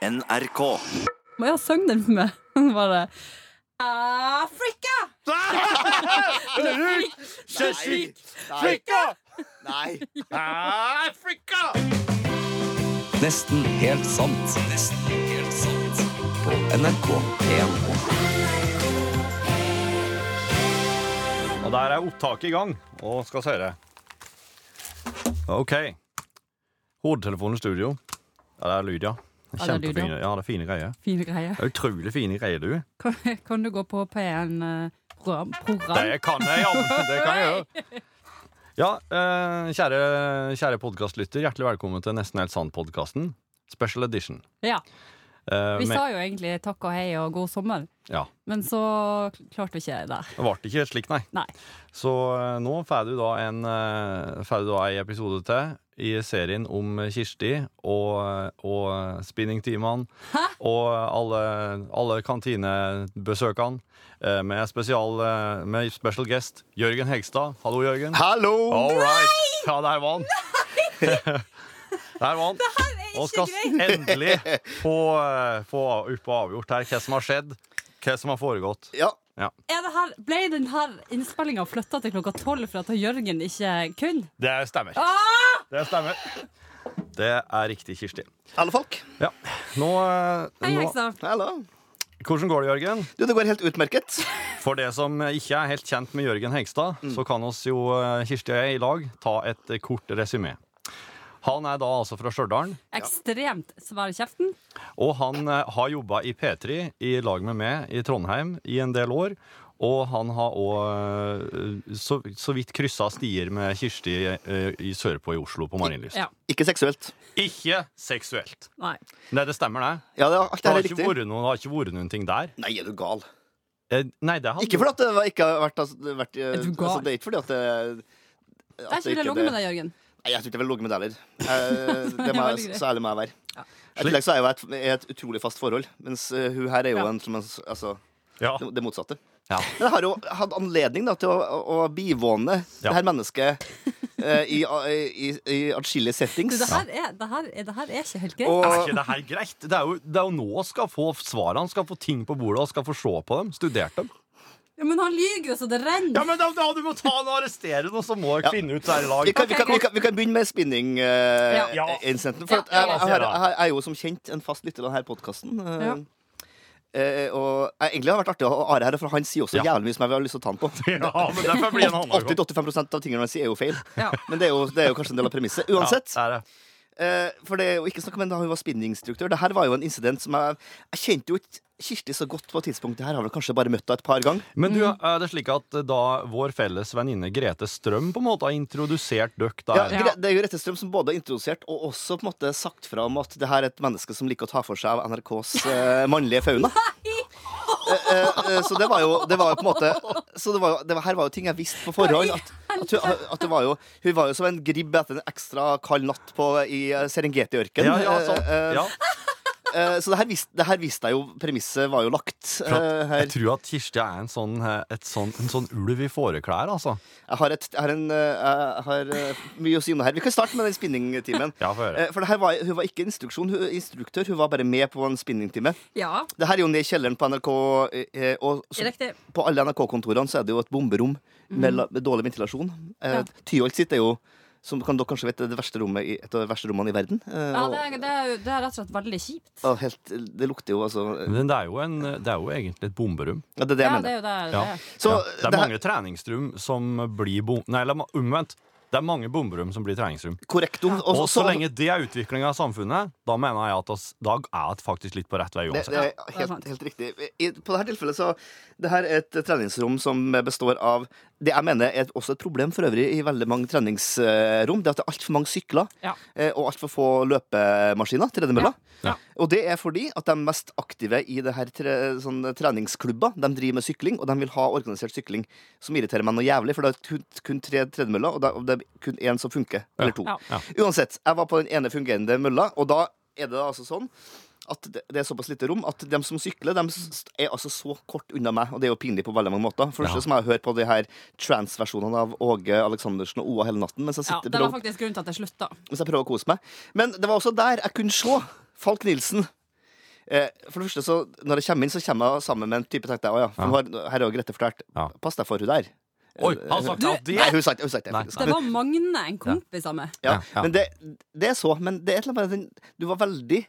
NRK. Må jeg synge den for meg? Bare Afrika! Nei. Nei. Nesten helt sant. Nesten helt sant. På NRK1. Og der er opptaket i gang, og skal si det. OK. Hodetelefonen i studio. Ja, det er lyd, ja. Ja, det er lyd, ja. Kjempefine. Ja, det er fine greier. Fine greier. Det er utrolig fine greier, du. Kan, kan du gå på eh, P1-program? Det kan jeg, ja. men Det kan jeg gjøre. Ja, eh, kjære, kjære podkastlytter, hjertelig velkommen til Nesten helt sant-podkasten. Special edition. Ja. Eh, Vi men- sa jo egentlig takk og hei og god sommer, ja, men så klarte vi ikke det der. det ble ikke slik, nei. Nei. Så eh, nå får du da en eh, får du da ei episode til i serien om Kirsti og, eh, og spinningtimene og alle, alle kantinebesøkene eh, med, spesial, eh, med special guest Jørgen Hegstad. Hallo, Jørgen. Hallo! All right. Ja, der var han. Der var han. Og skal endelig få, eh, få opp og avgjort her hva som har skjedd, hva som har foregått. Ja. Er det her, ble denne innspillinga flytta til klokka tolv for at Jørgen ikke kunne? Det stemmer. Ah! Det stemmer. Det er riktig, Kirsti. Alle folk. Ja. Nå, eh, Hei, nå Heksa. Hallo. Hvordan går det, Jørgen? Du, det går helt utmerket. For det som ikke er helt kjent med Jørgen Hegstad, så kan oss jo eh, Kirsti og jeg i lag ta et eh, kort resymé. Han er da altså fra Stjørdal, Ekstremt svær i kjeften. og han eh, har jobba i P3 i lag med meg i Trondheim i en del år. Og han har òg så, så vidt kryssa stier med Kirsti eh, i sørpå i Oslo, på Marienlyst. Ja. Ikke seksuelt. Ikke seksuelt. Nei. Nei, det stemmer, det. Ja, det, er- alt Det det har her er ikke riktig. vært noen, det har ikke vært noen ting der. Nei, er du gal? Eh, Nei, det hadde Ikke fordi at det var- ikke har vært, altså, det har vært eh, Er du gal? Altså, det er ikke fordi at det at Jeg er ikke ville ligget med deg, Jørgen. Nei, jeg tror ikke jeg vil ligge med deg heller. Eh, Det må veldig jeg, greit. så ærlig må jeg være. Ja. I tillegg så er jeg jo et, i et utrolig fast forhold, mens eh, hun her er jo Ja. en som er- altså, Ja. det, det motsatte. Ja. Men jeg har jo hatt anledning da, til å, å, å bivåne Ja. det her mennesket eh, i, i, i, i atskillige Du, settings. det her er, det her, er- det her er ikke helt greit. Og, Er ikke det her greit? Det er jo, det er jo nå han skal få svarene, han skal få ting på bordet, og skal få se på dem. Studert dem. Ja, men han lyver jo så det renner. Ja, men da, da Du må ta han og arrestere han, og så må jeg Ja. finne ut det her i vi, lag. kan, vi, kan, vi, kan, vi kan begynne med Ja. Ja. spinning-incidenten. for at Ja, jeg, ja, jeg, ja. har- jeg, har- jeg er jo som kjent en fast lytter av denne podkasten. Ja. og jeg, egentlig har det vært artig å ha Are her, for han sier også Ja. jævlig mye som jeg har lyst til å ta han på. Ja, men derfor blir han handla 80-85 av tingene han sier, er jo feil. Ja. Men det er jo, det er jo kanskje en del av premisset. Uansett. Ja, det er det. eh, For det er jo ikke snakk om en da hun var spinninginstruktør. Det her var jo en incident som jeg Jeg kjente jo ikke Kirsti så godt på et tidspunkt. Det her har vel kanskje bare møtt henne et par ganger. Men du, er det slik at eh, da vår felles venninne Grete Strøm på en måte har introdusert dere Ja, der? Gre- Det er jo Rette Strøm som både har introdusert og også på en måte sagt fra om at det her er et menneske som liker å ta for seg av NRKs eh, mannlige fauna. Eh, eh, eh, så det var jo, det var jo på en måte Så det var jo, det var, her var jo ting jeg visste på forhånd. At, at, hun, at det var jo, hun var jo som en gribb etter en ekstra kald natt på, i eh, Serengeti-ørken. ja, ja, sånn. Eh, eh, ja. eh, så det her, visste, det her visste jeg jo Premisset var jo lagt. eh, her. Jeg tror at Kirsti er en sånn, eh, et sånn, en sånn ulv i fåreklær, altså. Jeg har, et, jeg har, en, eh, jeg har eh, mye å si om det her. Vi kan starte med den spinningtimen. Ja, få høre. Eh, For det her var, hun var ikke instruksjon, hun, instruktør, hun var bare med på en spinningtime. Ja, Det her er jo nede i kjelleren på NRK, eh, og så, riktig. på alle NRK-kontorene så er det jo et bomberom med, la- med dårlig ventilasjon. Eh, Mhm. Ja. Tyholt sitt er jo, som kan dere kanskje vet, det verste rommet i, et av de verste rommene i verden. Eh, Ja, og- det er, det, er, jo- det er rett og slett veldig kjipt. og helt, det lukter jo altså eh, Men det er jo, en, det er jo egentlig et bomberom. ja, Det er det jeg Ja, mener. det er jo det. det Ja. er. Så, ja. Det er det her- mange treningsrom som blir bom... Nei, la meg- omvendt. Det er mange bomberom som blir treningsrom. Korrekt. Og, Og og- så så- lenge det er utviklinga av samfunnet, da mener jeg at oss, da er vi faktisk litt på rett vei Det, uansett. det er det er helt, sant. helt riktig. I, på dette tilfellet så Det her er et treningsrom som består av Det jeg mener er også et problem for øvrig i veldig mange treningsrom. Det er at det er altfor mange sykler Ja. eh, og altfor få løpemaskiner. Tredemøller. Ja. Og det er fordi at de mest aktive i det her tre, sånn, treningsklubber De driver med sykling, og de vil ha organisert sykling. Som irriterer meg noe jævlig, for det er kun, kun tre tredemøller, og det er- og det er kun én som funker. Eller to. Ja. Uansett, jeg var på den ene fungerende mølla, og da er det altså sånn at det det er såpass lite rom at de som sykler, de s- er altså så kort unna meg. Og det er jo pinlig på veldig mange måter. For det Ja. første så må jeg høre på de her trans-versjonene av Åge Aleksandersen og Oa hele natten mens jeg, Ja, sitter, det var prøver, faktisk grunnen til at jeg slutta. mens jeg prøver å kose meg. Men det var også der jeg kunne se Falk Nilsen eh, For det første, så når jeg kommer inn, så kommer jeg sammen med en type tenkte jeg, å ja, for nå har- Her har jo Grete fortalt. Ja. Pass deg for hun der. Eh, Oi, han sa ikke at det! Nei, hun sa ikke hun sa ikke det. Nei. faktisk. Det var Magne, en kompis av meg. Ja, Ja, ja. Men det, det er så. Men det er et eller annet med den Du var veldig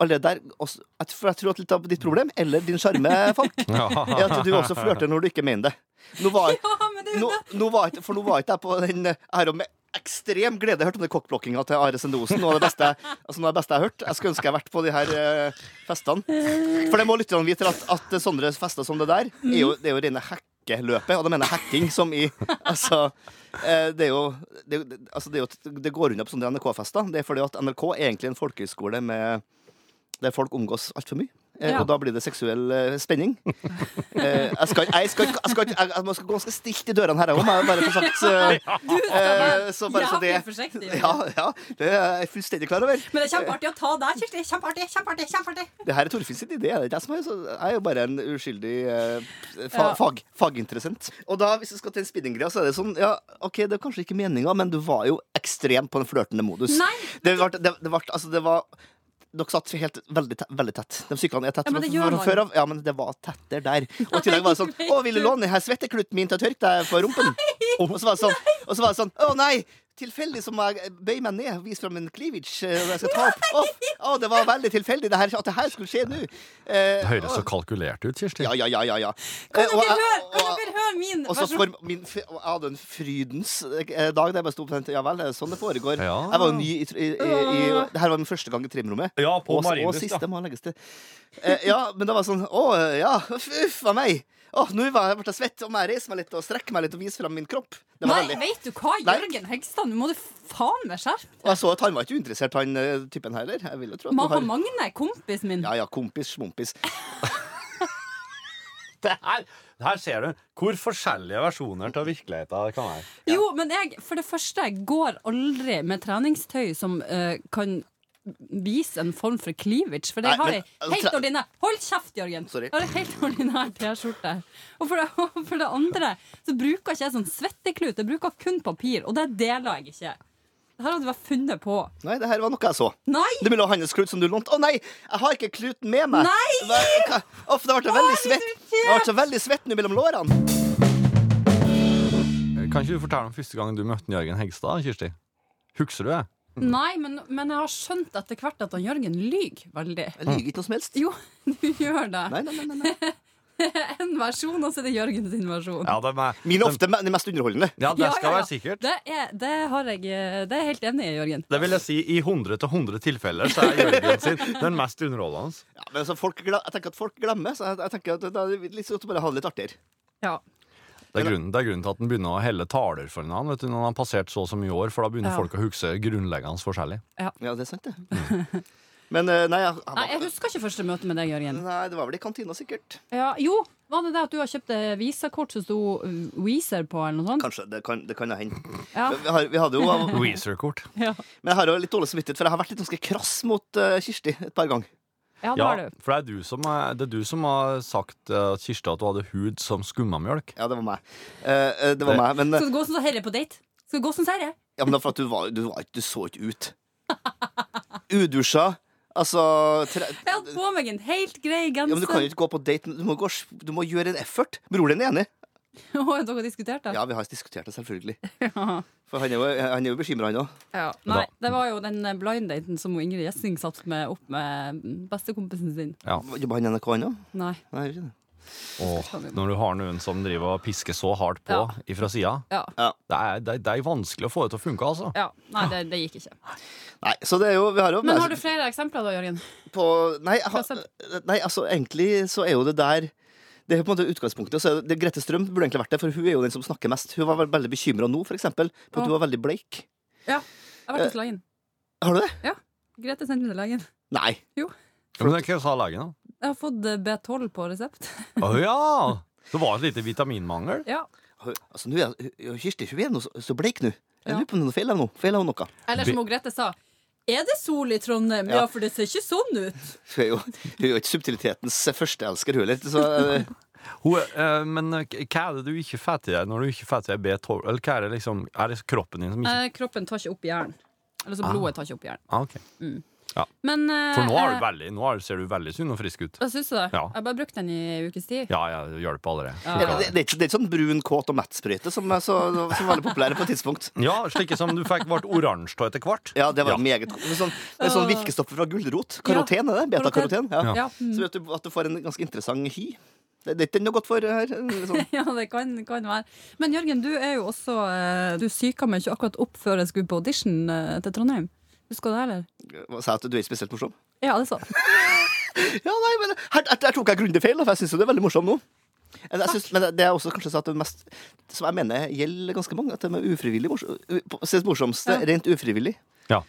allerede der. Også, jeg tror- jeg tror at litt av ditt problem, eller din sjarme, folk, er at du også flørter når du ikke mener det. Nå var, Ja, men det er nå, jo det. nå var ikke, for nå var ikke jeg på den eh, her og med ekstrem glede. Jeg hørte om den kokkblokkinga til Are Sendosen. Noe av det beste, altså noe av det beste jeg har hørt. Jeg skulle ønske jeg hadde vært på de her eh, festene. For det må lytterne vite at, at sånne fester som det der, er jo, det er jo rene hackeløpet. Og da mener jeg hacking som i Altså, eh, det er jo Det, er jo- det- altså, det, er jo, et- det går unna på sånne NRK-fester. Det er fordi at NRK er egentlig en folkehøyskole med der folk omgås altfor mye. Eh, Ja. Og da blir det seksuell eh, spenning. Eh, jeg, skal, jeg, skal, jeg, skal, jeg, jeg må skal gå ganske stilt i dørene her òg, må jeg bare få sagt. eh, Du skal eh, være så bare så jævlig det- forsiktig. ja, ja, det er jeg fullstendig klar over. Men det er kjempeartig å ta deg, Kirsti. Kjempeartig, kjempeartig, kjempeartig. Det her er Torfinn sin idé. Det er ikke jeg som er, så jeg er jo bare en uskyldig eh, fa Ja. fag, faginteressent. Og da, hvis du skal til en spinninggreie, så er det sånn Ja, OK, det er kanskje ikke meninga, men du var jo ekstrem på den flørtende modus. Nei. Det var, det, det var, altså, det var dere satt helt, veldig, tett, veldig tett. De syklene er tett Ja, men fra- det gjør fra man. før av. Ja, men det var tettere der. Og i tillegg var det sånn Nei, Å, vil du låne her svetteklutten min til å tørke deg på rumpen? Og så var det sånn, og så var det sånn Å, nei! Tilfeldig som jeg bøyer meg ned og viser fram en cleavage. eh, Jeg skal ta opp. Å, å, det var veldig tilfeldig det her, at det her skulle skje nå. Eh, Det høres så kalkulert ut, Kirsti. ja, ja, ja, ja, ja. Eh, Kan og dere jeg- høre, og- kan dere høre min og så versjon? for min, f- jeg hadde en frydens eh, dag der jeg bare sto på den. Ja vel, det er sånn det foregår. Ja. Jeg var jo ny i, tr- i, i, i Det her var min første gang i trimrommet. Ja, på og, og Marienlyst, siste ja. må legges til. Eh, ja, men det var sånn Å, ja, uff, uff a meg. Å, nå var jeg- ble jeg svett, og må jeg reise meg litt og strekke meg litt og vise fram min kropp. Det var Nei, veldig. vet du hva, Nei. Jørgen Hegstad, nå må du faen meg skjerpe Og jeg så at han var ikke uinteressert, han eh, typen her heller. Jeg vil jo tro at Ma- han har- Magne, kompisen min. Ja ja, kompis, smumpis. Det her, det her ser du hvor forskjellige versjoner av virkeligheten det kan være. Jo, men jeg, for det første, jeg går aldri med treningstøy som eh, kan vise en form for cleavage. For det Nei, har men- altså, jeg helt tre- ordinær Hold kjeft, Jørgen! Sorry. Jeg har en helt ordinær T-skjorte. Og for det, og for det andre så bruker ikke jeg sånn svetteklut. Jeg bruker kun papir, og det deler jeg ikke. Det her hadde vært funnet på. Nei, det her var noe jeg så. Nei! Du ville ha hans klut som du lånte. Å nei, jeg har ikke kluten med meg. Nei! Hva- hva- Uff, det ble Å, veldig hvis du svett. Det ikke- ble så veldig svett nå mellom lårene. Eh, Kan ikke du fortelle om første gang du møtte Jørgen Hegstad, Kirsti? Husker du det? Nei, men, men jeg har skjønt etter hvert at han Jørgen lyver veldig. Jeg lyver ikke noe som helst. Jo, du gjør det. Nei, nei, nei, nei, nei. En versjon, og så er det Jørgen sin versjon. Ja, det, er, Min er ofte me- den mest underholdende. ja, det Ja, skal ja, ja. være sikkert. Det er, det, har jeg, eh, det er jeg helt enig i, Jørgen. Det vil jeg si, i 100 til 100 tilfeller så er Jørgen sin den mest underholdende. Ja, men altså, folk, gla- jeg tenker at folk glemmer, så jeg, jeg tenker at da er det litt godt å bare ha det litt artigere. Ja. Det er, grunnen, det er grunnen til at han begynner å helle taler for en annen vet du, når han har passert så og så mye år, for da begynner Ja. folk å huske grunnleggende forskjellig. Ja, det er sant, det. Men eh, nei, jeg, Nei, jeg, jeg husker ikke første møte med deg, Jørgen. nei, det var vel i kantina, sikkert. Ja, jo, var det det at du har kjøpt eh, visakort som sto eh, Weezer på, eller noe sånt? Kanskje. Det kan, det kan jo hende. Ja. Men Vi, har, vi hadde jo Weezer-kort. Ja, Men jeg har jo litt dårlig samvittighet, for jeg har vært litt ganske krass mot eh, Kirsti et par ganger. ja det Ja, har du. for det er du som, er- det er du som har sagt eh, Kirsti at du hadde hud som skummamjølk. Ja, det var meg. Eh, eh, det var Det- meg, men eh, Skal du gå som sånn herre på date? Skal du gå som herre? Ja, men det er for at du, var, du, var, ikke- du så ikke ut. Udusja. Altså tre, Jeg hadde på meg en helt grei ja, men Du kan jo genser. ikke gå på date. men Du må, gå, du må gjøre en effort. Bror din er enig. Å, dere har diskutert det? Ja, vi har diskutert det, selvfølgelig. Ja. For han er jo, han er jo bekymra, han òg. Ja. Nei, det var jo den eh, blind-daten som Ingrid Gjessing satt med opp med mm, bestekompisen sin. Jobber han i NRK, han òg? Nei. Nei, gjør ikke det. Åh, når du har noen som driver og pisker så hardt på ifra sida, Ja. det er, det, det er vanskelig å få det til å funke, altså. ja. Nei, det, det gikk ikke. Nei, så det er jo, vi har jo Men har du flere eksempler da, Jørgen? på nei, jeg har- Prosent. nei, altså egentlig så er jo det der det er på en måte utgangspunktet, så er det, det Grete Strøm burde egentlig vært det, for hun er jo den som snakker mest. Hun var vel- veldig bekymra nå, for eksempel, på at hun var veldig bleik. Jeg har vært hos legen. Har du det? Grete sendte meg til legen. Nei. Ja, Men hva sa legen, da? Jeg har fått eh, B12 på resept. Å ja! Det var et lite vitaminmangel. Ja. Hun- Altså, nå er, hun- Kirsti hun er nå så- så bleik nå. Jeg Ja. lurer på om hun feiler noe. Feiler hun noe? Eller som hun Grete sa. Er det sol i Trondheim? Ja, for det ser ikke sånn ut. Hun er jo, hun er jo ikke subtilitetens førsteelsker, hun heller. Så eh, Hun, eh, men eh, hva er det du ikke får til deg når du ikke får til deg B12? Eller hva er Eh. det liksom Er det kroppen din som ikke Ah. kroppen tar ikke opp jern. Eller så blodet tar ikke opp jern. ah, ok. Ja. Men eh, For nå, er eh, du veldig, nå er, ser du veldig sunn og frisk ut. Hva syns du, da? Ja. Jeg har bare brukt den i en ukes tid. Ja, jeg hjelper allerede. Det, det, det, er ikke, det er ikke sånn brun, kåt og mettsprøyte som er så, som var veldig populære på et tidspunkt. Ja, slike som du fikk ble oransje av etter hvert. Ja, det var meget god. Med Sånn, med sånn virkestoffer fra gulrot. Karoten er det? Betakaroten. Ja. Ja. Så vet du at du får en ganske interessant hy. Det, det er ikke noe godt for her. Sånn. Ja, det kan, kan være. Men Jørgen, du er jo også eh, Du psyka meg ikke akkurat opp før jeg skulle på audition eh, til Trondheim. Husker du det, eller? Hva Sa jeg at du er ikke spesielt morsom? Ja, det sa du. Ja, nei, men her, her, her tok jeg grundig feil, da, for jeg syns jo det er veldig morsomt nå. Men Jeg synes, men det er også kanskje sånn at det mest som jeg mener gjelder ganske mange, at de er ufrivillig morsom, u- sitt morsomste Ja. rent ufrivillig. Ja.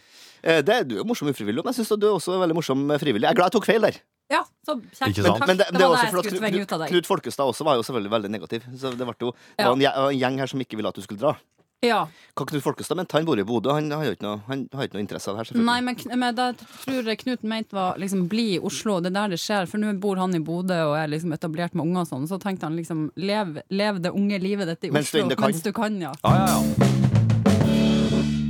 Eh, Det er du er morsom ufrivillig, men jeg syns du er også veldig morsom frivillig. Jeg er glad jeg tok feil der. Ja, så kjempe, Ikke Men, sant? takk. men det, det, var er også jeg for at skulle Knut, tvinge ut av Knut, deg. Knut Folkestad også var jo selvfølgelig veldig negativ. Så det ble jo det Ja. var en, gje- en gjeng her som ikke ville at du skulle dra. Ja. Hva Knut Folkestad mente, han bor i Bodø, han har jo ikke noe, han har ikke noe interesse av det her. selvfølgelig. Nei, men, Kn- men da tror jeg Knut mente var liksom bli i Oslo, det er der det skjer. For nå bor han i Bodø og er liksom etablert med unger og sånn. Så tenkte han liksom lev, lev det unge livet ditt i Mens du Oslo ennå kan. mens du kan, ja. Ja, ja, ja.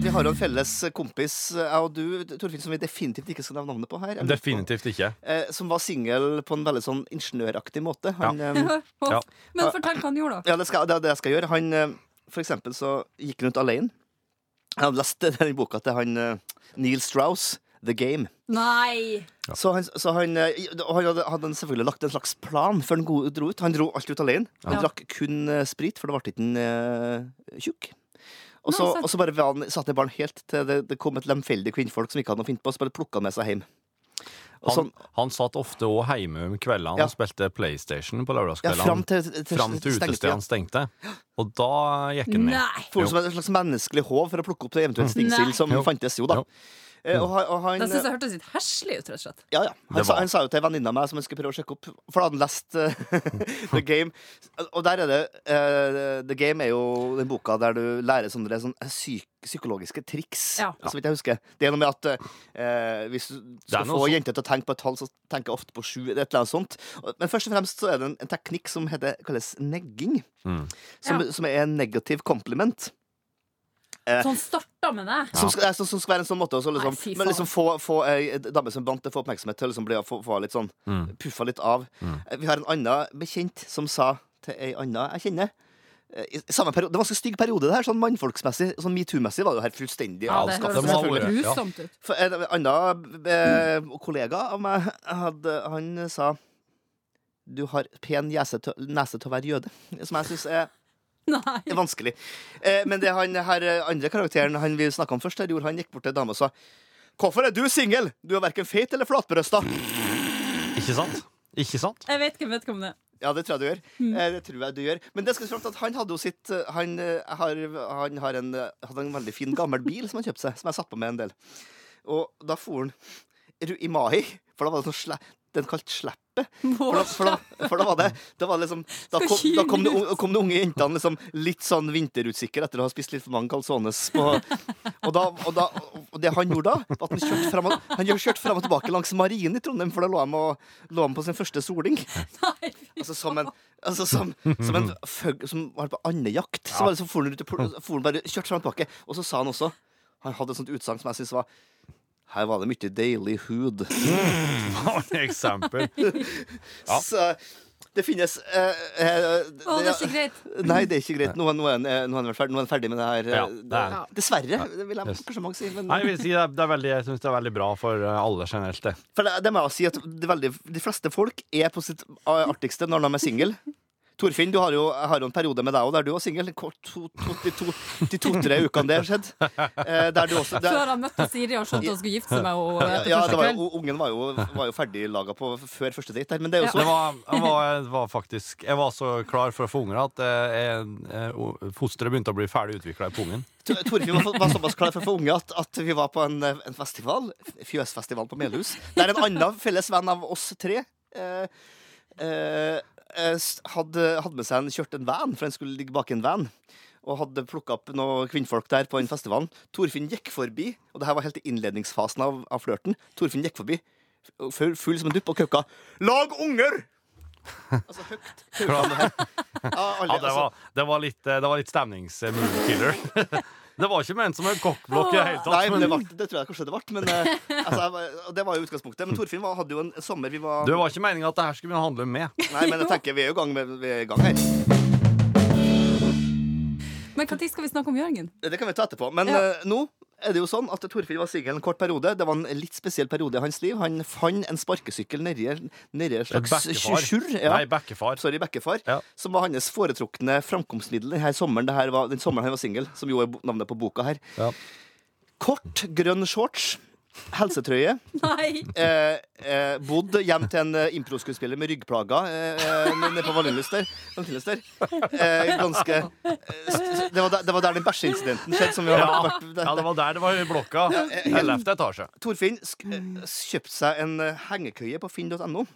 Vi har jo en felles kompis, jeg og du, Torfinn, som vi definitivt ikke skal nevne navnet på her. Definitivt ikke. Eh, som var singel på en veldig sånn ingeniøraktig måte. Han, eh, Ja. Men fortell hva han gjorde, da. ja, det, skal, det er det jeg skal gjøre. Han, eh, for eksempel så gikk han rundt alene. Jeg har lest den boka til han eh, Neil Strauss, The Game. Nei! Så han, så han, eh, og han hadde, hadde han selvfølgelig lagt en slags plan før han go- dro ut. Han dro alt ut alene. Han Ja. drakk kun eh, sprit, for det ble ikke han eh, tjukk. Og så, Nei, altså. sant. og så bare var han, satt han i baren helt til det, det kom et lemfeldig kvinnfolk som ikke hadde noe å finne på, og så bare plukka han med seg hjem. Og Han, sånn, han satt ofte òg hjemme om kveldene Ja. og spilte PlayStation på ja, fram lørdagskveldene. til, til, til, Fram til stengetid. utestedene stengte. Og da gikk han ned. Nei! For Jo. Mm. som et slags menneskelig håv for å plukke opp det eventuelt stingsild som Jo. fantes. Jo da. Jo. Eh, Og, han- og han, Det syns jeg hørtes litt heslig ut, rett og slett. ja, ja. han, Det sa, var- han sa jo til en venninne av meg som han skulle prøve å sjekke opp, for da hadde han lest eh, The Game. Og der er det eh, The Game er jo den boka der du lærer sånne sånn psyk psykologiske triks. Ja. Så vidt jeg husker. Det er noe med at eh, hvis du skal få noe sånn. sånt. jenter til å tenke på et tall, så tenker jeg ofte på sju. eller Et eller annet sånt. Og- Men først og fremst så er det en, en teknikk som heter, kalles negging, Mm. som, Ja. som er en negativ kompliment. Så han starta med det? Som skal, nei, som, som skal være en sånn måte også, liksom, Nei, fy Men faen. liksom få, få ei dame som vant til å få oppmerksomhet til liksom bli, få, få litt sånn Mm. Puffa litt av Eh, Vi har en annen bekjent som sa til ei anna jeg kjenner eh, i samme periode, Det var en ganske stygg periode det her, sånn mannfolksmessig Sånn metoo-messig var det jo her fullstendig Ja, det avskaffet, høres må ha selvfølgelig. vært. helt selvfølgelig. grusomt ut. For En annen eh, kollega av meg hadde, Han sa Du har pen jese til- nese til å være jøde Som jeg synes er Nei. det er vanskelig. Eh, men det han her eh, andre karakteren han vi snakka om først, her, gjorde han gikk bort til dama og sa Hvorfor er du singel? Du er verken feit eller flatbrøsta. Ikke sant? Ikke sant? Jeg vet ikke, vet ikke om det. Ja, det tror jeg du gjør. Eh, det tror jeg du gjør. Men det skal fram til at han hadde jo sitt eh, Han, eh, har, han har en, eh, hadde en veldig fin, gammel bil som han kjøpte seg, som jeg satt på med en del. Og da for han ru- i mai, for da var det sånn sle, den kalt sleppet. For da, for da, for da var det, da var det liksom Da, Skal kom, da kom, de, kilen unge- kom de unge jentene liksom litt sånn vinterutsikre etter å ha spist litt for mange calzones. På, og, da, og, da, og det han gjorde da, var at han kjørte frem og, han kjørte frem og tilbake langs Marien i Trondheim, for da lå han, og, lå han på sin første soling. Nei, fy Altså som en Altså som, som en føgg som var på andejakt. Så bare så for han ut og pl- for han bare kjørte frem og tilbake. Og så sa han også Han hadde et sånt utsagn som jeg syntes var Her var det mye deilig hud. Et eksempel. Så det finnes eh, eh, Å, det er ikke greit. Nei, det er ikke greit. Nå er nå er han eh, nå er han vel ferdig, nå er han ferdig med det her. eh, Ja, det er han. Dessverre, det vil jeg Yes. kanskje mange si. Men Nei, jeg vil si det er, det er veldig, jeg syns det er veldig bra for eh, alle generelt, det. for det, det må jeg si at det veldig, de fleste folk er på sitt artigste når de er single. Torfinn, du har jo, jeg har jo en periode med deg òg der du var singel. De to-tre to, tre ukene det har skjedd. Eh, der du også, der, Før han møtte Siri og skjønte hun skulle gifte seg med henne. etter ja, første det var kveld. jo, ungen var jo, var jo ferdiglaga på før første date der, men det er jo Ja. så Det var, jeg, var, jeg var faktisk Jeg var så klar for å få unger at eh, jeg, eh, o- fosteret begynte å bli ferdig utvikla i pungen. Tor- Torfinn var, var såpass klar for å få unge at, at vi var på en, en festival, fjøsfestival på Melhus, der en annen felles venn av oss tre eh, eh, eh, s- hadde, hadde med seg en, kjørt en van, for han skulle ligge bak i en van. Og hadde plukka opp noen kvinnfolk der på den festivalen. Torfinn gikk forbi, og det her var helt i innledningsfasen av, av flørten. Torfinn gikk forbi, f- full, full som en dupp, og kauka 'Lag unger!' Altså høyt. kauka om det her. Ja, alle- Ja, det var, det var litt, eh, det var litt stemningsmood-killer. Det var ikke ment som en kokkblokk i det hele tatt. Nei, men det, vart- det tror jeg kanskje det ble. Men eh, altså, jeg, var- og det var jo utgangspunktet. Men Torfinn var, hadde jo en sommer vi var Det var ikke meninga at det her skulle begynne å handle om meg. Nei, men jeg tenker vi er jo i gang, med, vi er i gang her. Men når skal vi snakke om Jørgen? Det kan vi ta etterpå. Men Ja. eh, nå er det jo sånn at Torfinn var singel en kort periode. Det var en litt spesiell periode i hans liv. Han fant en sparkesykkel nedi en nedi en Et slags bekkefar. skjur. Ja. Nei, bekkefar. Sorry, bekkefar. Ja. Som var hans foretrukne framkomstmiddel denne sommeren, det her var, den sommeren han var singel. Som jo er bo- navnet på boka her. Ja. Kort, grønn shorts. Helsetrøye. Nei! Eh, eh, bodd hjem til en eh, improskuespiller med ryggplager eh, eh, nede på Vallenlyst der. Vallenlyst der. Eh, ganske eh, s- det, var der, det var der den bæsjeincidenten skjedde. Som vi har Ja. vært, ja, det var der det var i blokka. 11. etasje. Torfinn sk eh, kjøpte seg en eh, hengekøye på finn.no.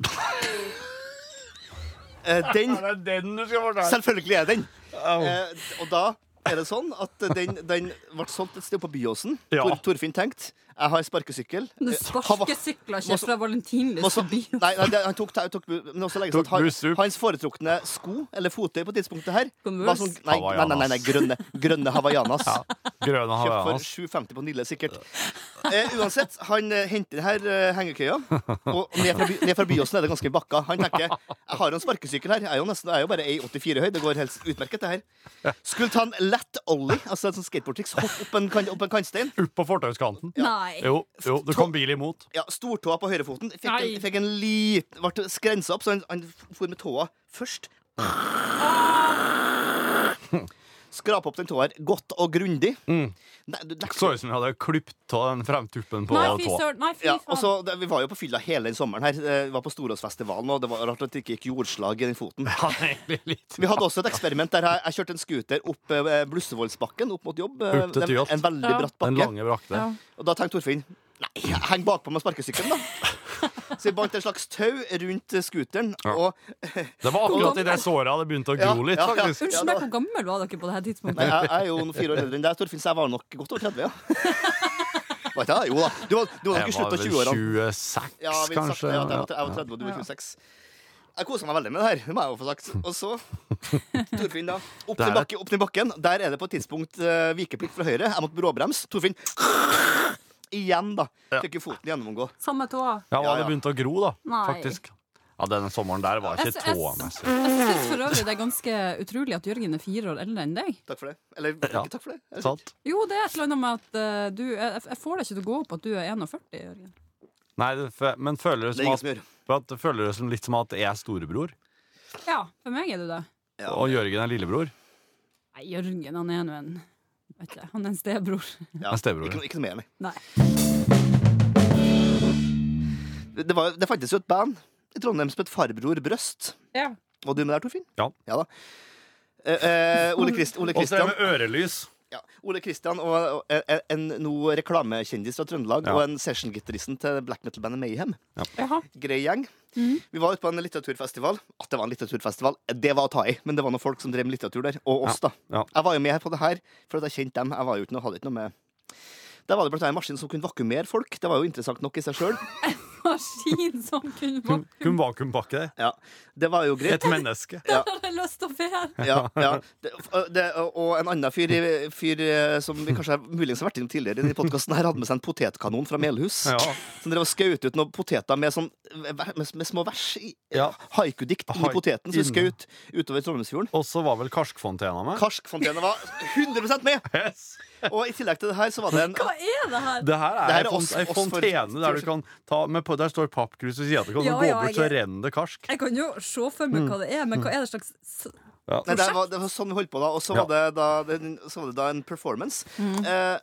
Eh, den det den du skal fortelle? Selvfølgelig er den! Eh, og da er det sånn at den, den ble solgt et sted på Byåsen. Ja. Tor, Torfinn tenkte jeg har sparkesykkel. Eh, Du ha- sparkesykler ikke fra Men Valentinlyst også, til nei, byen. nei, det- han tok, tok, tok bu- men også legges Tok at han, buss opp. hans foretrukne sko, eller fottøy på tidspunktet her, Converse. var sånn, nei, nei, nei, nei, nei, grønne, grønne hawaiianas. Grønne Kjøpt for 7,50 havanas. på Nille, sikkert. Eh, uansett, han eh, henter her eh, hengekøya, og ned fra, by, ned fra Byåsen er det ganske bakka. Han tenker jeg har jo en sparkesykkel her, jeg er jo, nesten, jeg er jo bare 1,84 høy, det går helt utmerket, det her. Skulle ta en lett ollie, altså et sånt skateboardtriks, hopp opp en, kan- opp en kantstein. Opp på fortauskanten. Nei. Jo, jo, det kom bil imot. ja, stortåa på høyrefoten. Fikk en, Nei. fikk en liten Ble skrensa opp, så han, han for med tåa først. Ah! Skrape opp den tåa her godt og grundig. Mm. Nei, du- nei. Så ut som vi hadde klippet av den fremtuppen på Nei, fy tå. søren. Nei, fy Ja, og faen. så, det, vi var jo på fylla hele den sommeren her. Eh, Vi var på Storåsfestivalen, og det var rart at det ikke gikk jordslag i den foten. Ja, det er egentlig litt. Vi hadde også et eksperiment der jeg, jeg kjørte en scooter opp eh, Blussevoldsbakken, opp mot jobb. eh, Opp til den- Tyholt. En veldig Ja. bratt Den bakke. lange brakte. Ja. Og da tenkte Torfinn Nei, heng bakpå med sparkesykkelen, da. Så vi bandt en slags tau rundt eh, scooteren, Ja. og Det var akkurat i det såret det begynte å Ja, gro litt, ja, ja. faktisk. Unnskyld Ja, meg, da- hvor gammel var dere på det her Nei, tidspunktet? jeg, jeg er jo noen fire år eldre enn deg, Torfinn, så jeg var nok godt over 30, ja. Var ikke jeg? Jo da. Du var, du var nok Jeg i var slutten av vel 20-årene. 26, Ja, vi sagt kanskje. det, at jeg, Ja, var, jeg var 30, og du var 26. Jeg kosa meg veldig med det her, det må jeg jo få sagt. Og så, Torfinn, da. Opp Det til, er- bakke, opp til bakken. Der er det på et tidspunkt eh, vikeplikt fra høyre. Jeg måtte bråbrems. Torfinn Igjen, da. Ja. Fikk jo foten gjennomgå. Samme tåa. Ja, Ja, det ja. begynte å gro, da. Nei. Faktisk. Ja, denne sommeren der var Jeg ikke sy- jeg tåmessig. Jeg syns for øvrig det er ganske utrolig at Jørgen er fire år eldre enn deg. Takk for det. Eller Ja. ikke takk for det. Er det sant? Sant? Jo, det er et eller annet med at eh, du Jeg, jeg får det ikke til å gå opp at du er 41, Jørgen. Nei, det, fø- men føler det, Det er som ingen at, som gjør. for at, det føler det som litt som at jeg er storebror, Ja, for meg er du det. Ja. og Jørgen er lillebror. Nei, Jørgen, han er nå en Vet ikke, han er en stebror. Ja. Jeg er stebror. Ikke, noe- ikke noe mer, nei. Nei. Det, var, det fantes jo et band i Trondheim som het Farbror Brøst. Ja. Var du med der, Torfinn? Ja. da. Eh, eh, Ole, Christ, Ole, Og så er Christian, det med ørelys. ja, Ole Christian og, og en, en nå reklamekjendis fra Trøndelag Ja. og en sessiongitaristen til black metal-bandet Mayhem. Jaha. Grei gjeng. Vi var ute på en litteraturfestival. At det var en litteraturfestival, det var å ta i, men det var noen folk som drev med litteratur der. Og oss, da. Ja. Jeg var jo med på det her, for at jeg kjente dem. Jeg var jo ikke noe, hadde ikke noe med Der var det blant annet en maskin som kunne vakuumere folk. Det var jo interessant nok i seg sjøl. Maskin som kunne Kun, vært kun vakuumpakke det. Ja. Det var jo greit. Et menneske. Jeg har lyst til å være. ja, ja. Det, og- det, og en annen fyr, fyr eh, som vi kanskje har- muligens har vært innom tidligere, i denne podcasten her hadde med seg en potetkanon fra Melhus. Ja. Som drev og skjøt ut noen poteter med, sånn, med, med små vers. i- Ja. Haikudikt inni Haik- poteten som inne. skjøt utover Trondheimsfjorden. Og så var vel karskfontena med. Karskfontene var 100 med! Yes. Og i tillegg til det her så var det en Hva er det her? Det her er, Det her er ei font- oss- ei oss for- fontene der du kan ta med, på- Der står pappkrus ved sida av. Du kan Ja, gå ja, bort, så jeg- renner det karsk. Jeg kan jo se for meg hva det er, men hva er det slags s- Ja. Nei, det, var, det var sånn vi holdt på da. Og så, var det da, den- så var det da en performance. Eh,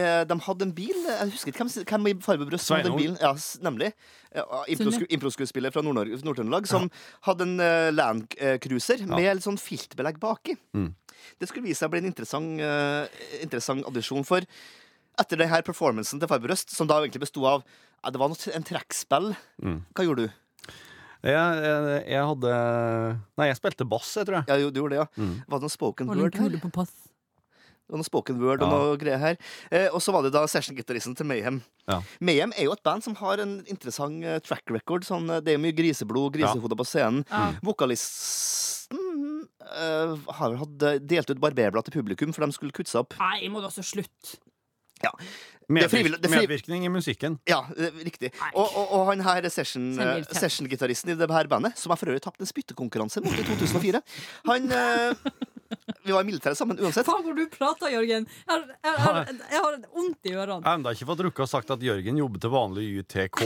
eh, de hadde en bil. Jeg husker ikke hvem, hvem i Farbebrøst som hadde en bil. Sveinung. Ja, s- nemlig. Ja, improsku- Sunne. Improskuespiller fra Nord-Norge- Nord-Trøndelag som hadde en eh, Land eh, Cruiser med litt sånn filtbelegg baki. Det skulle vise seg å bli en interessant, eh, interessant addisjon for etter denne performancen til Farberøst, som da egentlig besto av ja, Det var noe, en trekkspill. Hva gjorde du? Jeg, jeg, jeg hadde Nei, jeg spilte bass, jeg, tror jeg. Ja, jo, du gjorde det, ja. Var det noe spoken Hold en word? her? kule på pass. Det var noe spoken word og Ja. noe greier her. Eh, og så var det da session-gitaristen til Mayhem. Ja. Mayhem er jo et band som har en interessant eh, Mm. track record. Sånn, eh, det er mye griseblod, grisehoder på scenen. Ja. Vokalisten eh, har vel hatt eh, delt ut barberblad til publikum, for de skulle kutte seg opp. Nei, må du også slutte. er frivillig- Medvirk, det er friv- medvirkning i musikken. Ja, eh, riktig. Og, og, og han her session- Send eh, bildet. session-gitaristen i det her bandet, som jeg for øvrig tapte en spyttekonkurranse mot i 2004 Han eh, Vi var i militæret sammen uansett. Faen, hvor du prater, Jørgen! Jeg har, jeg har, jeg har vondt i ørene. Jeg har ennå ikke fått rukka å sagt at Jørgen jobber til vanlig UTK,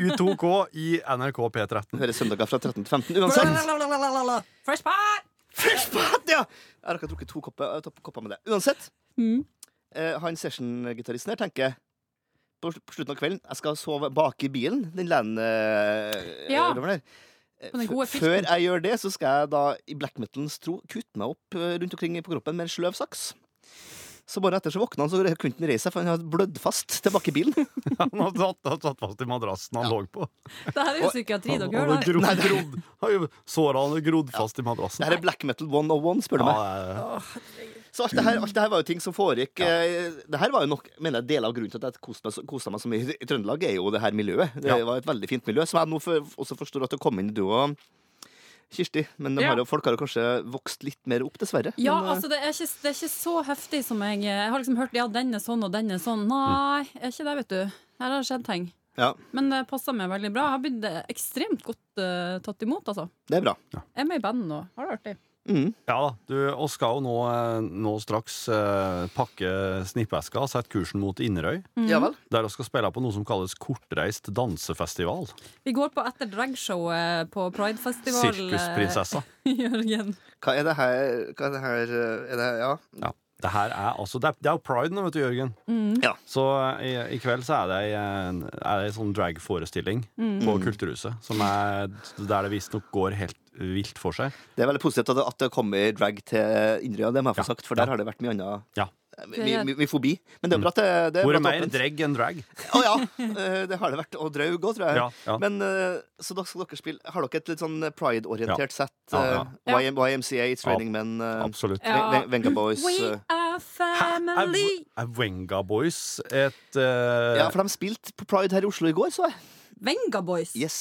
U2K i NRK P13. Hører søndager fra 13 til 15 uansett. Fresh pot! Flashback, ja! Jeg har akkurat drukket to kopper, to kopper med det. Uansett, Mm. eh, han session-gitaristen her tenker på, sl- på slutten av kvelden Jeg skal sove bak i bilen, den land... Eh, Ja, røveren der. Eh, på den f- gode Før filten. jeg gjør det, så skal jeg da i black metalens tro kutte meg opp eh, rundt omkring på kroppen med en sløv saks. Så bare etter så våkna han, så kunne han reise seg, for han hadde blødd fast tilbake i bilen. Han har satt, har satt fast i madrassen han lå på. Det her er jo psykiatri dere Han har hører. grodd, grodd, har jo såra han har grodd fast i madrassen. Det her er black metal 101, spør du meg. Ja, Så alt det, her, alt det her var jo ting som foregikk. eh, Det her var jo nok, mener jeg, Deler av grunnen til at jeg koste meg, så- koste meg så mye i Trøndelag, er jo det her miljøet. Det Ja. var et veldig fint miljø, som jeg nå for, også forstår at det kom inn du og Kirsti. Men de Ja. har jo, folk har jo kanskje vokst litt mer opp, dessverre. Ja, Men, eh, altså det er, ikke, det er ikke så heftig som jeg Jeg har liksom hørt ja, den er sånn og den er sånn. Nei, er ikke det, vet du. Her har det skjedd ting. ja, Men det passer meg veldig bra. Jeg har blitt eh, ekstremt godt eh, tatt imot, altså. det er bra. Jeg er med i band nå. Har det artig. Mm. ja da. Du, og skal jo nå, eh, nå straks eh, pakke snippeska og sette kursen mot Inderøy. Mm. Ja vel. Der vi skal spille på noe som kalles kortreist dansefestival. Vi går på etter dragshowet på Pridefestivalen. Sirkusprinsessa. Jørgen. Hva er det her, hva er det her eh, er det, Ja. Ja. Det her er altså Det er, det er jo pride nå, vet du, Jørgen. Ja. Så eh, i, i kveld så er det ei, eh, er det ei sånn dragforestilling på Kulturhuset. Som er der det visstnok går helt vilt for seg. Det er veldig positivt at det, at det kommer drag til Inderøy, og det må jeg få sagt, for der har det vært mye annet Ja. mye, mye, mye fobi. Men det er bra at det, det er bra Hvor at er mer åpent. drag enn drag? Å ja, eh, det har det vært. Og draug òg, tror jeg. Ja, ja. Men, eh, så da skal dere spille Har dere et litt sånn pride-orientert sett? Ja, ja. eh, YM, YMCA, It's Raining Men, eh, Absolutt. Ja. Ven- Ven- Venga Boys. We eh. are Hæ? Er, family. er Wenga Boys et eh, Ja, for de spilte på Pride her i Oslo i går, så jeg. Venga Boys. Yes.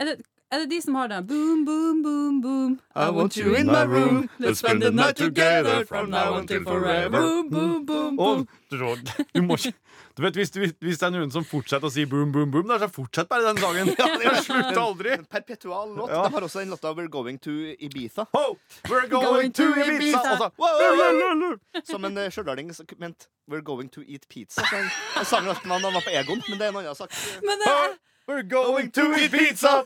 Er, det, er det de som har den? Boom, boom, boom, boom. I want you in my room. Let's spend the night together from now until forever. Oh. Boom, boom, boom, boom. Å, du må ikke Du vet, hvis, hvis det er noen som fortsetter å si boom, boom, boom, der, så fortsett bare den sangen. Ja, det er- Den slutter aldri. En perpetual låt. Ja. De har også en låt av We're Going to Ibiza. Oh, we're Going going, to to Ibiza! Ibiza. Og så- Som en eh, stjørdalning som mente We're Going to Eat Pizza. Så Den den sangen har ikke navn, han var på Egon, men det er en annen sak. Men det er We're going to Ibiza!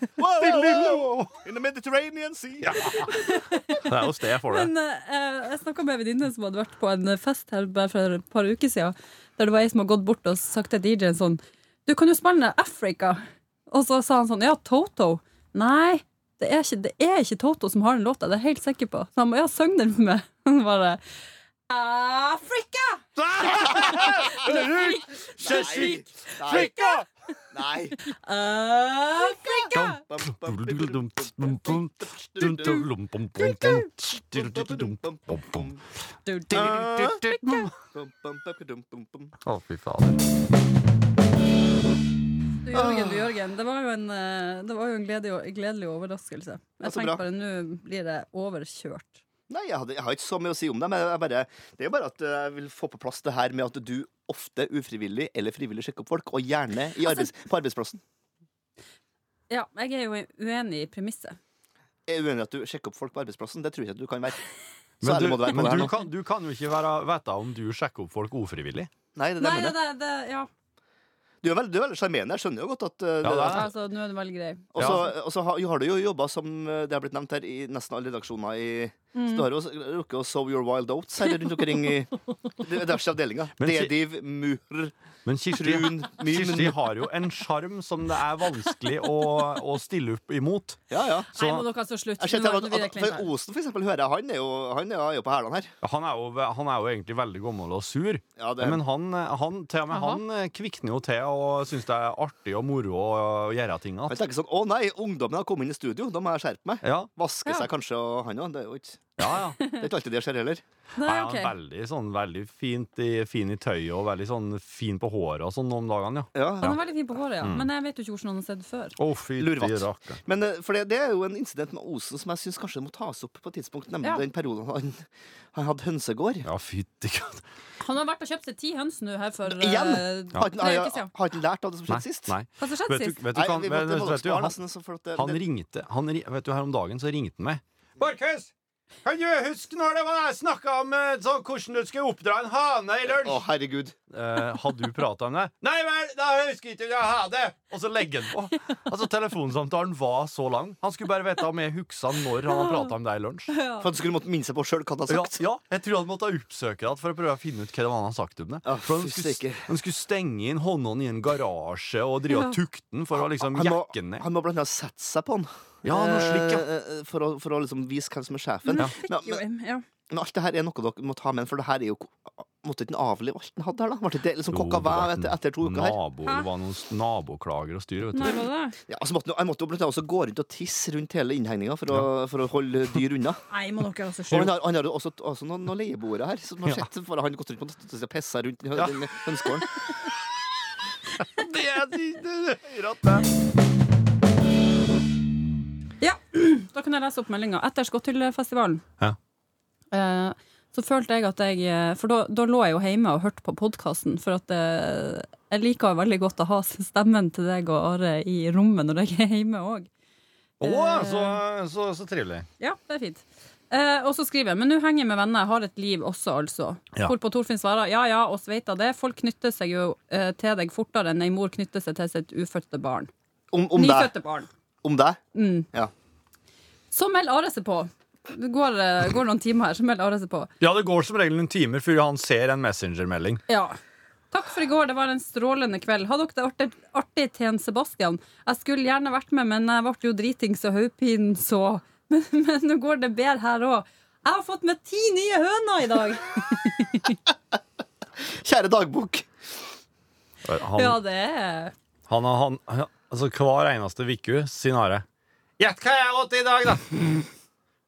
In the Mediterranean Sea. Det er jo sted for det. Men eh, jeg snakka med en venninne som hadde vært på en fest her bare for et par uker siden. Der det var ei som hadde gått bort og sagt til DJ-en sånn Du kan jo spille Africa. Og så sa han sånn Ja, Toto. Nei, det er ikke, det er ikke Toto som har den låta. Det er jeg helt sikker på. Så han bare Ja, syng den for meg. Han bare Africa! Nei. Nei. Nei. Africa! Du, du, du, du. Å, fy fader. Du, Jørgen, du, Jørgen. Det var jo en, eh, det var jo en gledelig, gledelig overraskelse. Ja, Jeg så tenkte bra. bare nå blir det overkjørt. Nei, jeg, hadde, jeg har ikke så mye å si om det, men jeg bare, det er bare at jeg vil få på plass det her med at du ofte ufrivillig eller frivillig sjekker opp folk, og gjerne Altså- i arbeids, på arbeidsplassen. Ja, jeg er jo uenig i premisset. Jeg er uenig i at du sjekker opp folk på arbeidsplassen. Det tror jeg ikke at du kan være. Så Men, ærlig må du, du være på men det her du, nå. kan, du kan jo ikke være, vite om du sjekker opp folk ufrivillig. Nei, det, er det, Nei, jeg det, mener. det, det, ja. Du er veldig, du er veldig sjarmerende. Jeg skjønner jo godt at eh, Ja, det, det er- Altså, nå er du veldig grei. Og så og så har, har du jo jobba, som eh, det har blitt nevnt her, i nesten alle redaksjoner i Mm. Så du har jo s- rukket å sow your wild oats her rundt omkring i diverse avdelinger. Men si- Dediv, Mur, Men Kirsti, Brun, Kirsti Mim har jo en sjarm som det er vanskelig å, å stille opp imot. Ja, ja. Så Nei, må dere altså slutte. Jeg ser til Nå- at, nå blir det at, kleint for her. Osen, for eksempel, hører jeg, han er jo, han er jo på hælene her. han er, jo, han er jo egentlig veldig gammel og sur. Ja, det, Men han, han, til og med Aha. han eh, kvikner jo til og syns det er artig og moro å gjøre ting. han At, tenker sånn Å nei, ungdommen har kommet inn i studio, da må jeg skjerpe meg. ja, Vaske Ja. seg kanskje, og han òg. Det er jo ikke Ja, ja. Det er ikke alltid det skjer heller. Nei, ja, ok. Veldig, sånn, veldig fint i, fin i tøyet og veldig sånn fin på håret og sånn om dagene, ja. Ja. Mm. Han er veldig fin på håret, ja. Men jeg vet jo ikke hvordan han har sett før. Å, fy Lurvatt. til rakkeren. Men eh, for det, det er jo en incident med Osen som jeg syns kanskje må tas opp på et tidspunkt, nemlig Ja. den perioden han, han hadde hønsegård. Ja, fytti katt. Han har vært og kjøpt seg ti høns nå her for eh, Igjen! Har tre uker ikke siden. har ikke lært av det som skjedde sist? Nei. Hva som skjedde Vet sist? du, vet du, kan, vi vet, måtte vet du, voldspare han, nesten, så for at det, han det, ringte han, ri- Vet du, her om dagen så ringte han meg. Markus! Kan du huske når det var jeg snakka om eh, sånn hvordan du skulle oppdra en hane i Å, herregud. Eh, har du prata om det? Nei vel, da husker jeg ikke å ha det! Og så legger han på. Altså, Telefonsamtalen var så lang. Han skulle bare vite om jeg huska når han har prata om det i lunsj. For at du skulle måtte minne seg på sjøl hva du hadde Ja, sagt. ja, jeg tror han måtte oppsøke det for å prøve å finne ut hva det var han hadde sagt om det. Ja, For han, fy skulle, stikker. han skulle stenge inn håndene i en garasje og drive og tukte den for å liksom Han må, jekke den ned. han må blant annet sette seg på han. Ja, noe slik, ja. Eh, eh, For å, for å liksom vise hvem som er Mm. sjefen. Men, Jo, men, ja. men alt det her er noe dere må ta med, for det her er jo Måtte ikke han avlive alt han hadde her, da? Ble ikke det liksom kokka væv etter, etter to uker her? Nabo, det var noen s- naboklager og styr, vet du. Nei, var det det? Ja, altså måtte, jeg måtte jo blant annet også gå rundt og tisse rundt hele innhegninga for, å- for å holde dyr unna. Nei, må dere altså Og han skjønne. har, han har jo også, også noen, noen leieboere her, som har sett for han gått rundt på natta og pissa rundt i hø- Ja. den hønsegården. Det er det er rått, det. Ja, da kan jeg lese opp meldinga. Etter Skotthyllefestivalen Ja. eh, så følte jeg at jeg eh, For da, da lå jeg jo hjemme og hørte på podkasten, for at eh, jeg liker veldig godt å ha stemmen til deg og Are i rommet når jeg er hjemme òg. Å, så, så, så trivelig. Ja, det er fint. Eh, og så skriver jeg Men nå henger jeg med venner, jeg har et liv også, altså. Ja. Hvorpå Torfinn svarer ja ja, oss veit da det. Folk knytter seg jo eh, til deg fortere enn ei mor knytter seg til sitt ufødte barn. Om, om deg. Nyfødte barn. Om deg. Mm. Så melder Are seg på. Det går, eh, går noen timer her, så melder Are seg på. Ja, det går som regel noen timer før han ser en Messenger-melding. Ja. Takk for i går, det var en strålende kveld. Hadde dere det artig, artig Tjen Sebastian? Jeg skulle gjerne vært med, men jeg ble jo dritings og hodepinen så. Men, men nå går det bedre her òg. Jeg har fått med ti nye høner i dag! Kjære dagbok. Han, Ja, det er han, han, han, altså, hver eneste uke sier Are Gjett hva jeg åt i dag, da!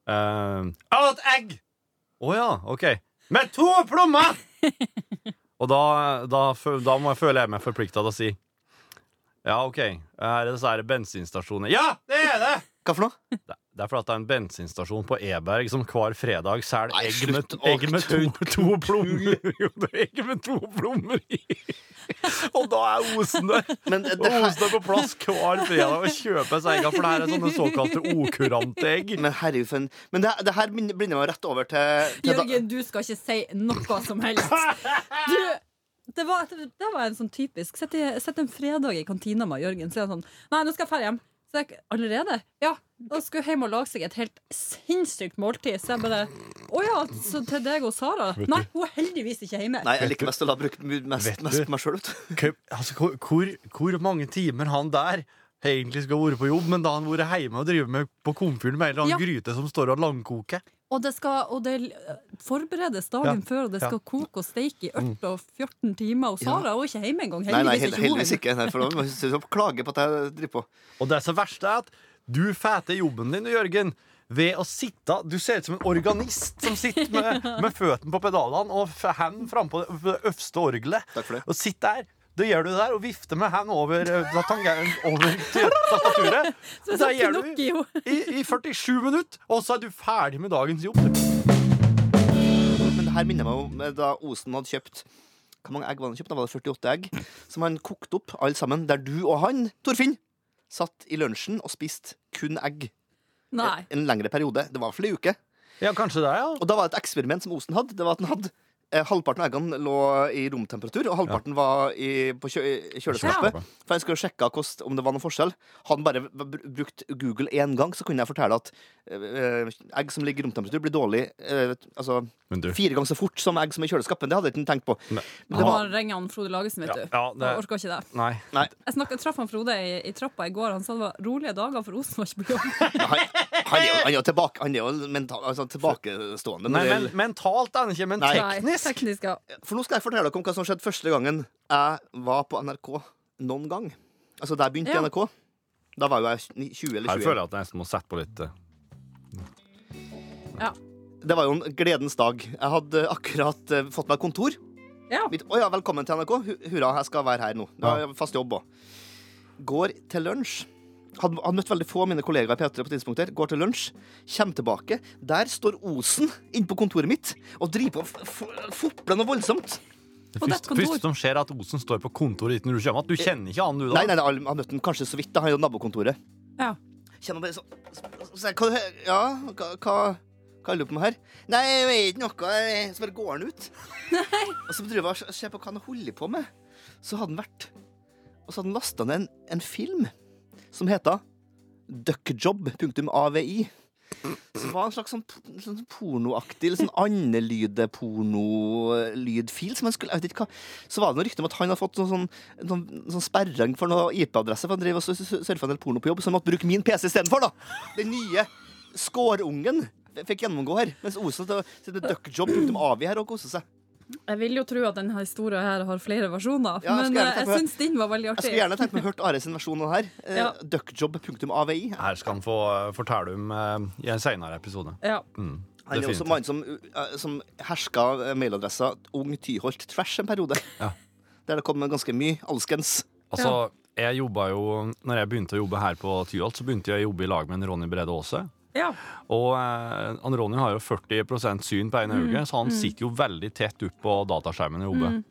Eh, jeg åt egg! Å ja, OK. Med to plommer! Og da, da, fø- da må jeg føle jeg meg forplikta til å si Ja, OK. Er det disse her bensinstasjonene? Ja, det er det! Hva for noe? Det det er fordi at det er en bensinstasjon på Eberg som hver fredag selger Nei, egg slutt med, å egg med to, to plommer Jo, det er Egg med to plommer i! Og da er osen der! Men det Og her, osen er på plass hver fredag og kjøper seg egga, for det her er sånne såkalte okurante egg. men herregud, for en- men det, det her blinder blinder meg rett over til, til da, Jørgen, du skal ikke si noe som helst. Du, det var, det var en sånn typisk Sett, i- sett en fredag i kantina med Jørgen, så er han sånn Nei, nå skal jeg dra hjem. Så jeg, allerede? Ja. Og skulle hjem og lage seg et helt sinnssykt måltid. Så jeg bare Å ja, så til deg og Sara? Nei, hun er heldigvis ikke hjemme. Nei, jeg liker best å la bruke mest, Vet mest, du- mest meg sjøl, vet du. Hvor, altså, hvor, hvor, hvor mange timer han der egentlig skal være på jobb, men da han har vært hjemme og driver med på komfyren med en eller annen gryte som står og langkoker. Og det skal og det forberedes dagen Ja. før, og det skal Ja. koke og steike i ørt og 14 timer. Og Sara er jo ikke hjemme engang. Mm. Nei, nei, heller, Heldigvis ikke hun heldigvis hjemme. ikke. Nei, for da må jeg klage på at jeg driver på. Og det som verste er at du fæter jobben din, Jørgen, ved å sitte Du ser ut som en organist som sitter med, med føttene på pedalene og f- hendene frampå det, på det øverste orgelet. Takk for det. Og sitt der. Det gjør du der, og vifter med hendene over, eh, tangeren over til tastaturet. Men Det så gjør du Pinocchio. i, i 47 minutter, og så er du ferdig med dagens jobb. du. Men det her minner meg om eh, da Osen hadde kjøpt Hvor mange egg var det han kjøpt? Da var det 48 egg. Som han kokte opp, alle sammen. Der du og han, Torfinn, satt i lunsjen og spiste kun egg. Nei. En lengre periode. Det var i hvert fall ei uke. Ja, kanskje det, ja. Og da var det et eksperiment som Osen hadde. Det var at han hadde eh, Halvparten av eggene lå i romtemperatur, og halvparten var i, på kjø i kjøleskapet. Ja. For jeg skulle sjekke kost, om det var noen forskjell. Hadde han bare v- br- brukt Google én gang, så kunne jeg fortelle at eh, egg som ligger i romtemperatur, blir dårlig eh, altså, Men du. fire ganger så fort som egg som er i kjøleskapet. Det hadde jeg ikke tenkt på. Nei. Men Nå det var, ringer han Frode Lagesen, vet du. Ja, ja, det- Jeg orker ikke det. Nei. nei, Jeg snakket, traff han Frode i, i trappa i går. Han sa det var rolige dager for Osen var ikke på jobb. men han, han, er jo, han er jo tilbake, han er jo mental, altså, tilbakestående. Nei, når det- men, mentalt er det ikke, men Nei. Nei, teknisk. teknisk ja. For nå skal jeg fortelle dere om hva som skjedde første gangen jeg var på NRK noen gang. Altså da jeg begynte Ja. i NRK. Da var jo jeg 20 eller 21. Her føler jeg at jeg nesten må sette på litt eh, Ja. det var jo en gledens dag. Jeg hadde akkurat eh, fått meg kontor. Ja. Mitt, «Å ja, velkommen til NRK. Hu- Hurra, jeg skal være her nå. Jeg har jeg fast jobb òg. Går til lunsj. Hadde, hadde møtt veldig få av mine kollegaer i P3 på tidspunkter. Går til lunsj, kommer tilbake. Der står Osen inne på kontoret mitt og driver på f- f- fopler noe voldsomt. Det Og det er første, kontor. første som skjer, er at Osen står på kontoret ditt når du kommer. At du kjenner ikke han, du, da. Nei, nei, nei, jeg har møtt den kanskje så vidt. Da har jo nabokontoret. Ja. Kjenner bare sånn så, så, hva, Ja, hva, hva hva holder du på med her? Nei, jeg vet ikke noe. jeg- Så bare går han ut. Og så driver jeg og ser på hva han holder på med. Så hadde han vært Og så hadde han lasta ned en, en film som heta duckjob.avi. Som var en slags sånn, po- en sånn pornoaktig, litt sånn andelyde-pornolydfil. som han skulle- Jeg vet ikke hva så var det noe rykte om at han hadde fått noen sånn, noen, sånn sperring for noe IP-adresse, for han drev og s- s- surfa en del porno på jobb, så han måtte bruke min PC istedenfor, da! Den nye skårungen f- fikk gjennomgå her, mens Osen sitter og- sitter med duckjob utom Avi her og koser seg. Jeg vil jo tro at denne historien her har flere versjoner, Ja, jeg skal men gjerne eh, ta jeg med- syns din var veldig Jeg artig. skulle gjerne tenkt meg hørt Are sin versjon av det her. Eh, Ja. Ja. Duckjob.avi. Her skal han få eh, fortelle om eh, i en seinere episode. Ja. Mm, Han er jo også definitivt. mannen som, uh, som herska eh, mailadressa Ung Tyholt Trash en periode. Ja. Der det kom ganske mye alskens. Altså, jeg jobba jo Når jeg begynte å jobbe her på Tyholt, så begynte jeg å jobbe i lag med en Ronny Brede Aase. Ja. Og eh, han Ronny har jo 40 syn på ene øye, så han sitter jo veldig tett opp på dataskjermen og jobber.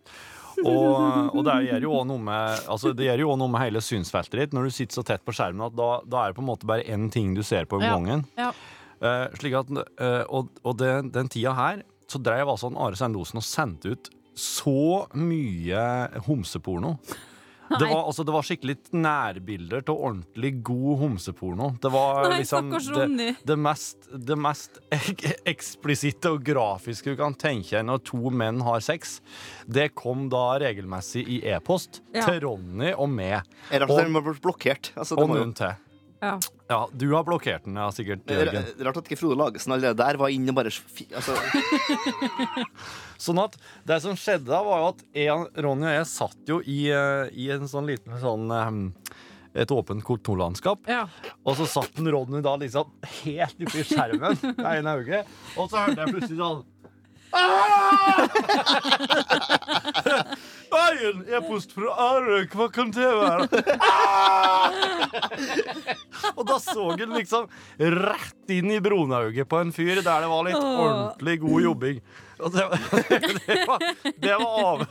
Og, og det gjør jo også noe med Altså det gjør jo også noe med hele synsfeltet ditt når du sitter så tett på skjermen at da, da er det på en måte bare én ting du ser på om Ja. gangen. Ja. Eh, slik at, eh, og og den- den tida her så dreiv altså han Are Sendosen og sendte ut så mye homseporno. Det var, altså, det var skikkelig nærbilder til ordentlig god homseporno. Det var Nei, liksom stakkars Ronny. det, det mest, det mest ek eksplisitte og grafiske du kan tenke deg når to menn har sex. Det kom da regelmessig i e-post Ja. til Ronny og meg. Er rart at den ble blokkert. Altså, det Og var jo- noen til. Ja. Ja, du har blokkert den, ja, sikkert. Det er Jørgen. Rart at ikke Frode Lagesen allerede der var inne og bare fi- altså, Sånn at det som skjedde da, var jo at jeg, Ronny og jeg satt jo i, eh, i en sånn liten sånn eh, et åpent kontorlandskap. Ja. Og så satt den Ronny da liksom helt oppi skjermen med ene øyet. Og så hørte jeg plutselig sånn «Ah!» Nei, en e-post fra Arøk, hva kan det være? Ah! Og da så han liksom rett inn i brunauget på en fyr der det var litt Åh. ordentlig god jobbing. Og det, det, var, det, var av,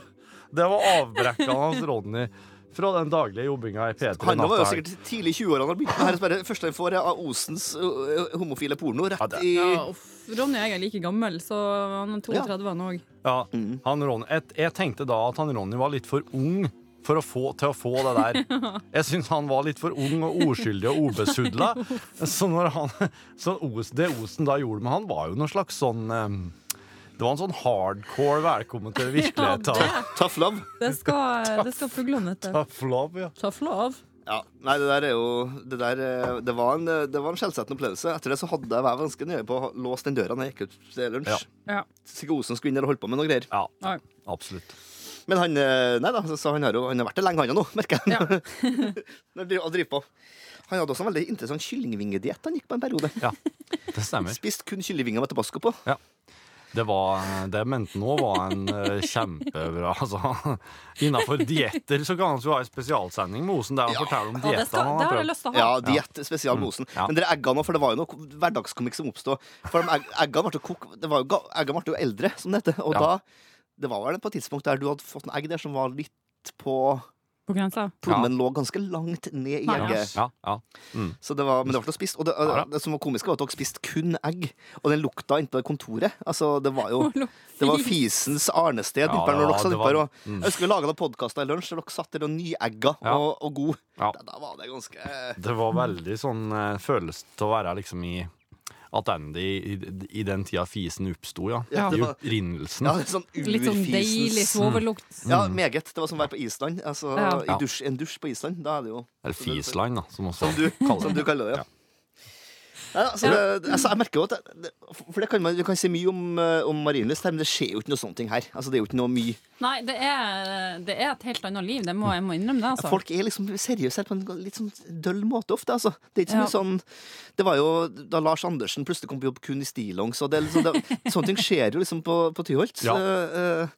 det var avbrekkene hans Ronny fra den daglige jobbinga i P3 Han var natt jo og helg. sikkert tidlig i 20-årene. når han begynte med det her. Så bare- Første han får, er av Osens ø, ø, homofile porno. Ja, Rett det- i Ja, uff. Ronny og jeg er like gammel, så han er 32 han òg. Ja, Mm. han Ronny, jeg, jeg tenkte da at han Ronny var litt for ung for å få, til å få det der. Jeg syns han var litt for ung og ordskyldig og obesudla. Så, når han, så Os, det Osen da gjorde med han, var jo noe slags sånn eh, Det var en sånn hardcore velkommen til virkeligheten. Ja, Tough love. Det skal, det skal fuglene hete. Tough love, ja. Tough love. Ja, Nei, det der er jo Det, der, ø, det var en, ø, det var en skjellsettende opplevelse. Etter det så hadde jeg vært ganske nøye på å ha låst den døra når jeg gikk ut til lunsj. Ja. Ja. Sikkert Osen skulle inn der og holdt på med noe greier. ja. Nei. Absolutt. Men han ø, Nei da, så- så han har jo han har vært der lenge, han nå, merker jeg. Ja. Når driver- og driver på. Han hadde også en veldig interessant kyllingvingediett han gikk på en periode. Ja, det stemmer. Spist kun kyllingvinger med tabasco på. Det, var, det jeg mente nå, var en eh, kjempebra altså, Innafor dietter så kan han jo ha en spesialsending med Osen der han forteller om Ja, det, diettene skal, han det har jeg har prøvd. lyst til å ha. Ja, diett spesial med osen. Mm. Ja. Men dere eggene òg, for det var jo noe hverdagskomikk som oppstod. For de egg, eggene ble jo kok... Det var jo, ga- eggene ble jo eldre, som det heter. Og Ja. da Det var vel på et tidspunkt der du hadde fått en egg der som var litt på På grensa. Plommen lå ganske langt ned i Ja. egget. Ja, ja. Så det var, men det ble spist. Og det, eh, Ja, ja. det som var komisk, var at dere spiste kun egg. Og den lukta inntil kontoret. Altså, det var jo det var fisens arnested. Ja, innpå her når det dere var- satt det innpå her, var- mm. og, Jeg husker vi laga noen podkaster i lunsj der dere satt der og nyegga Ja. og, og god. Ja. Da, da var det ganske Det var veldig sånn eh, følelse til å være liksom i Attende i, i, i den tida fisen oppsto, ja. Ja, det I var- opprinnelsen. ja, det er sånn Litt sånn urfisens- deilig svovellukt. Ja, meget. Det var som å være på Island. Altså, Ja. i dusj, en dusj på Island. Da er det jo Eller Fisland, da, som også Som du, som du kaller det. Ja. Ja, altså, det, altså, jeg merker jo at det- det, For det kan man, Du kan si mye om, eh, om marinlyst her, men det skjer jo ikke noe sånt ting her. Altså, det er jo ikke noe mye Nei, det er, det er et helt annet liv. Det må, jeg må innrømme det. altså Folk er liksom seriøse her på en litt sånn døll måte ofte, altså. Det er ikke så Ja. mye sånn Det var jo da Lars Andersen plutselig kom på jobb kun i stillongs, og det, er liksom, det, sånne ting skjer jo liksom på, på Tyholt. Ja. Eh,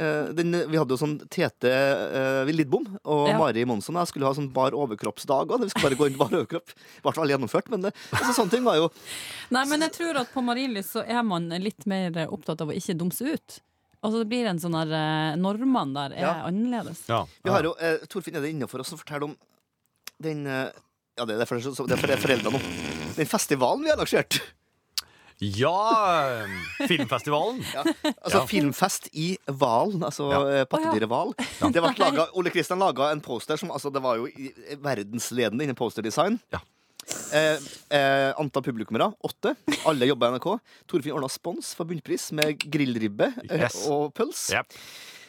eh, den, vi hadde jo sånn Tete uh, Lidbom og Ja. Mari Monsson og jeg skulle ha sånn bar overkroppsdag òg. Vi skulle bare gå inn i bar overkropp. Det ble aldri gjennomført, men det, altså, sånne ting var jo Nei, men jeg tror at på Marienlyst så er man litt mer opptatt av å ikke dumse ut. Altså det blir en sånn her eh, Normene der er Ja. annerledes. Ja. Vi har jo, eh, Torfinn er det innenfor oss som forteller om den eh, Ja, det er derfor det er så- det er for- det er foreldrene om den festivalen vi har arrangert. Ja, eh, Filmfestivalen. Altså Ja. Filmfest i Hvalen, altså Ja. eh, pattedyret Hval. Det ble laget- Ole Kristian laga en poster som altså, det var jo i- verdensledende innen posterdesign. Ja. Eh, eh, antall publikummere åtte. Alle jobba i NRK. Torfinn ordna spons for bunnpris med grillribbe eh, Yes. og pøls. Yep.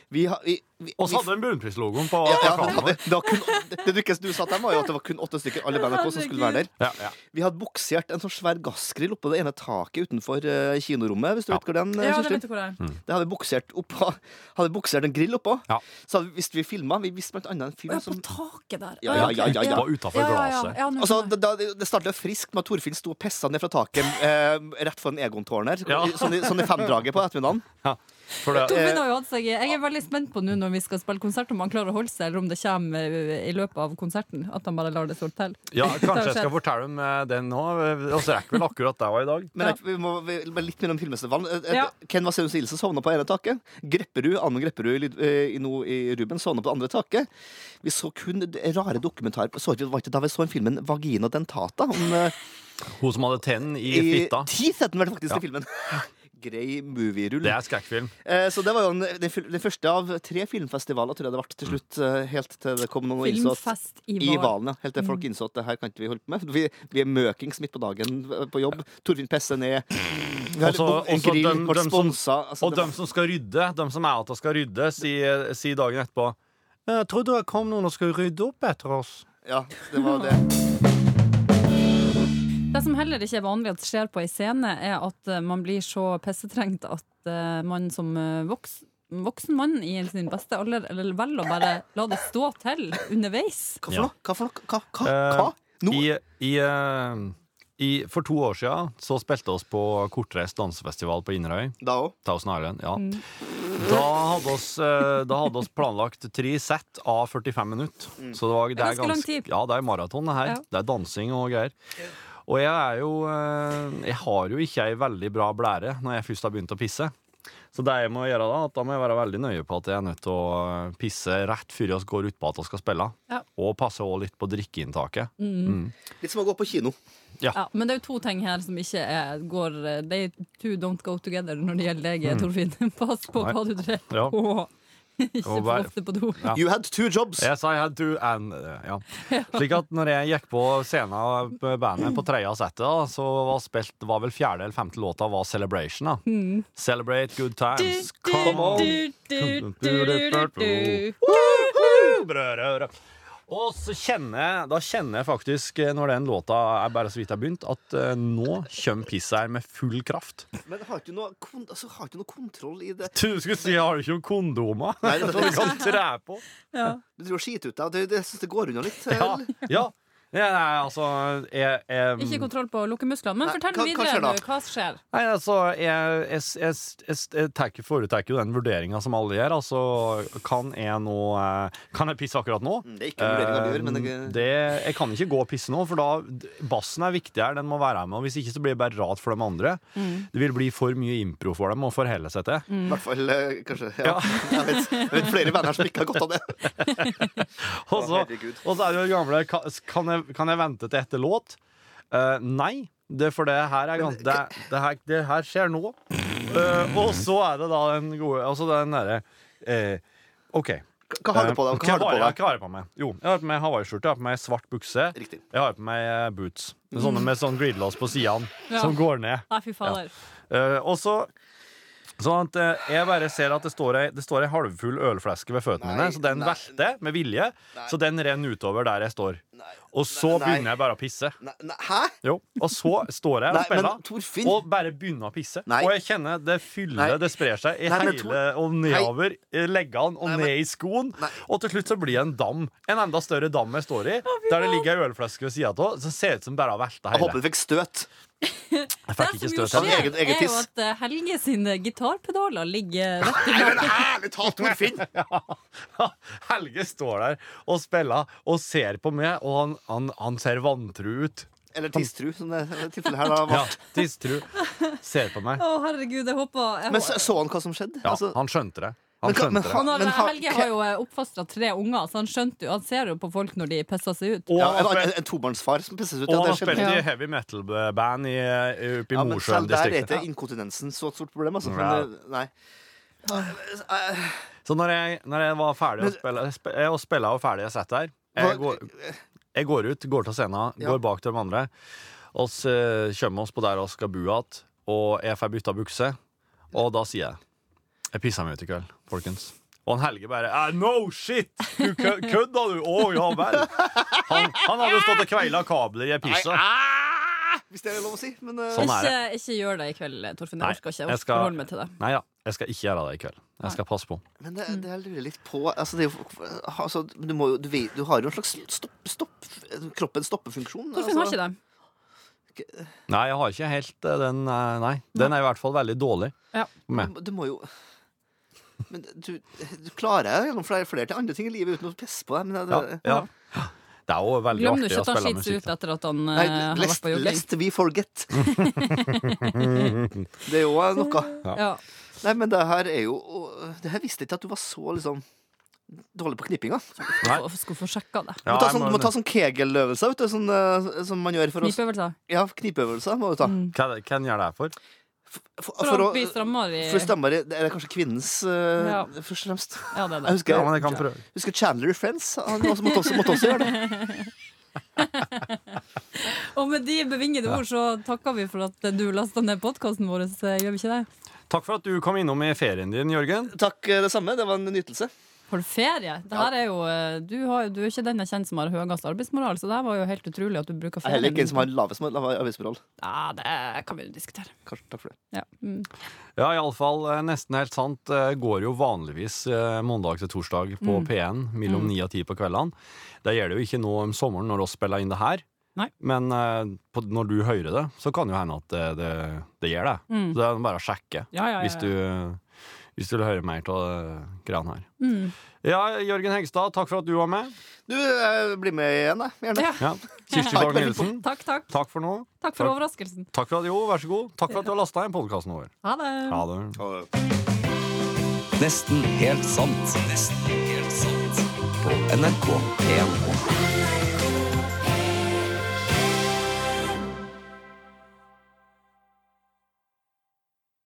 Vi har- vi- vi- Og så vi- hadde den bunnprislogoen på ja, ja, plakaten det, vår. det, var kun, det, det du ikke du sa til dem, var jo at det var kun åtte stykker alle i NRK som skulle være der. Ja, ja. Vi hadde buksert en sånn svær gassgrill oppå det ene taket utenfor eh, kinorommet. Hvis du vet hvor den, eh, Kirsti? du hvor det er. Det hadde vi buksert oppå. Hadde buksert en grill oppå. Mm. Ja. Så hadde vi, hvis vi filma Vi visste blant annet en Å, film ja, på som taket der. Ja, ja, ja, ja, ja. Det var utenfor glaset. Altså, det, da- det starta friskt med at Torfinn sto og pissa ned fra taket eh, rett foran Egon-tårnet her. Ja. Sånn, i- sånn i femdraget på ettermiddagen. For eh, det, Torfinn har jo hatt seg Jeg er veldig spent på nå når vi skal spille konsert, om han klarer å holde seg, eller om det kommer eh, i løpet av konserten. At han bare lar det stå til. ja, kanskje jeg skal fortelle om eh, den nå. Og så rekker vel akkurat der var i dag. Men Ja. jeg- vi må vi, bare litt mellom filmfestivalen. Eh, eh, Ja. Ken Vasenius Nilsen sovna på ene taket. Grepperud, Anne Grepperud i, lyd- eh, i, nå i Ruben sovna på det andre taket. Vi så kun d- rare dokumentarer. på- Så ikke, var ikke da vi så en filmen 'Vagina dentata'? Om, eh, Hun som hadde tenn i I fitta. teeth heter den vel faktisk Ja. i filmen. Grei movierull. Det er skrekkfilm. Eh, Så det var jo den, den, fil- den første av tre filmfestivaler, tror jeg det ble til slutt. eh, Helt til det kom noen og innså at Filmfest i i vår. Valen, ja. Helt til folk innså at det her kan ikke vi holde på med. Vi, vi er møkings midt på dagen eh, på jobb. Torfinn pisser ned. Vi har Også- en også grill, dem- ble dem som- sponsa. Altså, Og det dem som skal rydde, dem som er at de skal rydde, sier si dagen etterpå jeg trodde det kom noen og skulle rydde opp etter oss. var- ja, det var det. Det som heller ikke er vanlig at skjer på ei scene, er at eh, man blir så pissetrengt at eh, man som eh, voks, voksen mann i sin beste alder eller velger å bare la det stå til underveis. Hva for Ja. noe? Hva? for noe? Hva? Hva? Eh, Hva? Nå? I, i, eh, i, for to år siden så spilte oss på kortreist dansefestival på Inderøy. Da òg? Thousand Island, ja. Mm. Da hadde oss, eh, da hadde oss planlagt tre sett av 45 minutter. Så det, var, det, er ganske lang tid. Ja, det er maraton, det her. Ja. Det er dansing og greier. Og jeg er jo eh, Jeg har jo ikke ei veldig bra blære når jeg først har begynt å pisse. Så det jeg må gjøre da, at da må jeg være veldig nøye på at jeg er nødt til å eh, pisse rett før vi går utpå at vi skal spille. Ja. Og passe også litt på drikkeinntaket. Litt som å gå på kino. Ja, men det er jo to ting her som ikke er, går eh, They two don't go together når det gjelder deg, Torfinn. Pass på Mm. hva Nei. du driver Ja. og ikke Og for vær- ofte på do. Ja. You had two jobs. Yes, I had to and eh, ja. Slik at når jeg gikk på scenen med bandet på tredje settet, da, så var spilt var vel fjerde eller femte låta var Celebration. da Celebrate good times. Come on! Woo-hoo, brødre. Og så kjenner jeg, da kjenner jeg faktisk, eh, når den låta er bare så vidt jeg har begynt, at eh, nå kommer pisset her med full kraft. Men har ikke du noe, kon altså, har ikke du noe kontroll i det? Du skulle si, har du ikke noen kondomer? Nei, det er sånn- Som du kan tre på? Du driver og skiter ut deg. og det- det- Jeg syns det går unna litt. eh, Ja, eller? ja. ja nei, altså jeg, jeg, Ikke kontroll på å lukke musklene. Men Nei, fortell hva- hva videre skjer da? nå. Hva skjer? Nei, altså, jeg, jeg, jeg, jeg, jeg tar- foretar jo den vurderinga som alle gjør. Altså, kan jeg nå eh, Kan jeg pisse akkurat nå? Mm, Det er ikke en vurdering av det, men det, Eh, det, jeg kan ikke gå og pisse nå, for da bassen er viktig her. Den må være med. og Hvis ikke så blir det bare rart for de andre. Det vil bli for mye impro for dem å forholde seg til. I hvert fall eh, kanskje. Ja. Jeg, vet, jeg vet flere venner som ikke har godt av det. Og så, Å, herregud. og så er det jo det gamle Kan kan jeg, kan jeg vente til etter låt? Eh, nei, det, for det her er gans- det, det, her, det her skjer nå. Eh, og så er det da den gode Altså den derre eh, OK. Hva har du på deg? Eh, Hva har du på jeg, deg? hva har jeg på meg? Jo, jeg har på meg hawaiiskjorte, jeg har på meg svart bukse. Riktig. Jeg har på meg eh, boots. Med sånne med sånn glidelås på sidene Ja. som går ned. Nei, fy fader. Eh, og så Sånn at eh, jeg bare ser at det står ei, det står ei halvfull ølflaske ved føttene Nei, mine, så den nei. velter med vilje. Nei. Så den renner utover der jeg står. Nei, Og så nei, begynner jeg bare å pisse. nei, nei, Hæ? Jo. Og så står jeg Nei, og spiller. men Torfinn Og bare begynner å pisse. Nei. Og jeg kjenner det fyller, Nei. det sprer seg i Nei, men Tor- hele og nedover i leggene og Nei, men- ned i skoen. Nei. Og til slutt så blir det en dam. En enda større dam jeg står i, der det ligger ei ølflaske ved sida av, som ser ut som bare har velta Jeg håper hele. du fikk støt. Jeg Det fikk ikke som jo støt av det. skjer, Eget- eget er jo tiss. at eh, Helge sine gitarpedaler ligger rett i Men ærlig talt, Torfinn! Ja, Helge står der og spiller og ser på meg, og han, han, han ser vantro ut. Eller tisstru, som det det tilfellet her da Ja, var. Tistru ser på meg. Å, herregud, jeg håper jeg Men så, håper- så han hva som skjedde? Ja, Altså, han skjønte det. Men Han hva- men skjønte det. han- han har, han- eh, Helge har jo oppfostra tre unger, så han skjønte jo Han ser jo på folk når de pisser seg ut. Og ja, han en, har en, spilt- en tobarnsfar som pisses ut. og Ja, han det har spilt skjedde. i heavy metal-band i- oppe i Ja, men selv der er ikke Mosjøen-distriktet. inkontinensen så et stort problem. Altså, Ja. men, det- nei. Så når jeg, når jeg var ferdig å Men- spille sp- Jeg og spilla og ferdig, jeg satt der. Jeg Hva- går, jeg går ut, går til scenen, Ja. går bak til de andre. Og så eh, kommer oss på der vi skal bo igjen, og jeg får bytta bukse. Og da sier jeg Jeg pisser meg ut i kveld, folkens. Og han Helge bare «Ah, No shit! Du kø- kødda, du! Å, ja vel. Han, han hadde jo stått og kveila kabler i Nei, pissa. ah, hvis det er lov å si. Men eh, Sånn Ikke, er det. ikke gjør det i kveld, eh, Torfinn. Nei, Jeg orker ikke. jeg Jeg skal- orker holde meg til det. Nei da, jeg skal ikke gjøre det i kveld. Jeg skal passe på. Men det, Mm. det jeg lurer litt på altså, det er jo, altså, du, må, jo- du, vet, du har jo en slags stopp, stopp, kroppens stoppefunksjon. altså. Torfinn har ikke det. Nei, jeg har ikke helt eh, den eh, Nei. Den er i hvert fall veldig dårlig. Ja. Med. Du må jo Men du, du klarer deg gjennom flere, flere til andre ting i livet uten å pisse på deg. Men det, Ja, ja. Det er jo veldig Glem nå artig ikke å at han skiter spille seg musikk. ut etter at han eh, Nei, har vært lest, på jogging. lest we forget. Mm. det er jo noe. Ja. Nei, men det her er jo Det her visste jeg ikke at du var så liksom dårlig på knippinga. Nei. Hvorfor Skulle få sjekka det. Du Ja, må ta jeg sånn, må- du må ta sånn kegeløvelser, vet du, sånn, eh, som man gjør for å Knipeøvelser. Ja, knipeøvelser må du ta. Mm. Hva hva gjør det her for? For, For å bli strammere i For stemmer, det er kanskje kvinnens eh, Ja. Først og fremst Ja, det er Jeg det. husker, jeg kan prøve. jeg husker Chandler i Friends Han også, måtte, også, måtte også gjøre det Og med de bevingede ord så takker vi for at du lasta ned podkasten vår, eh, gjør vi ikke det? Takk for at du kom innom i ferien din, Jørgen. Takk eh, det samme, det var en nytelse Har du ferie? Det her er jo, eh, du, har, jo- du er ikke den jeg kjenner som har høyest arbeidsmoral, så det her var jo helt utrolig at du bruker Jeg ferie. er heller ikke en som har lavest lav arbeidsmoral Ja, det kan vi jo diskutere. Kanskje, takk for det Ja. Mm. Ja, iallfall nesten helt sant. eh, Går jo vanligvis eh, mandag til torsdag på Mm. P1 mellom ni og ti på kveldene. Det gjør det jo ikke nå om sommeren når vi spiller inn det her. Nei. Men eh, på, når du hører det, så kan jo hende at det, det, det gjør det. Mm. Så det er bare å sjekke Ja, ja, ja, hvis, ja. du, hvis du vil høre mer av eh, greiene her. Mm. Ja, Jørgen Hegstad, takk for at du var med. Du, eh, bli med igjen da, gjerne Ja. Ja. Kirsti Fag Nielsen, Takk, takk. takk for nå. Takk for Takk. overraskelsen. Takk for at, jo, vær så god. Takk for at du har lasta inn podkasten vår. Ha det. Ha det. Nesten helt sant. Nesten helt sant. På NRK P1.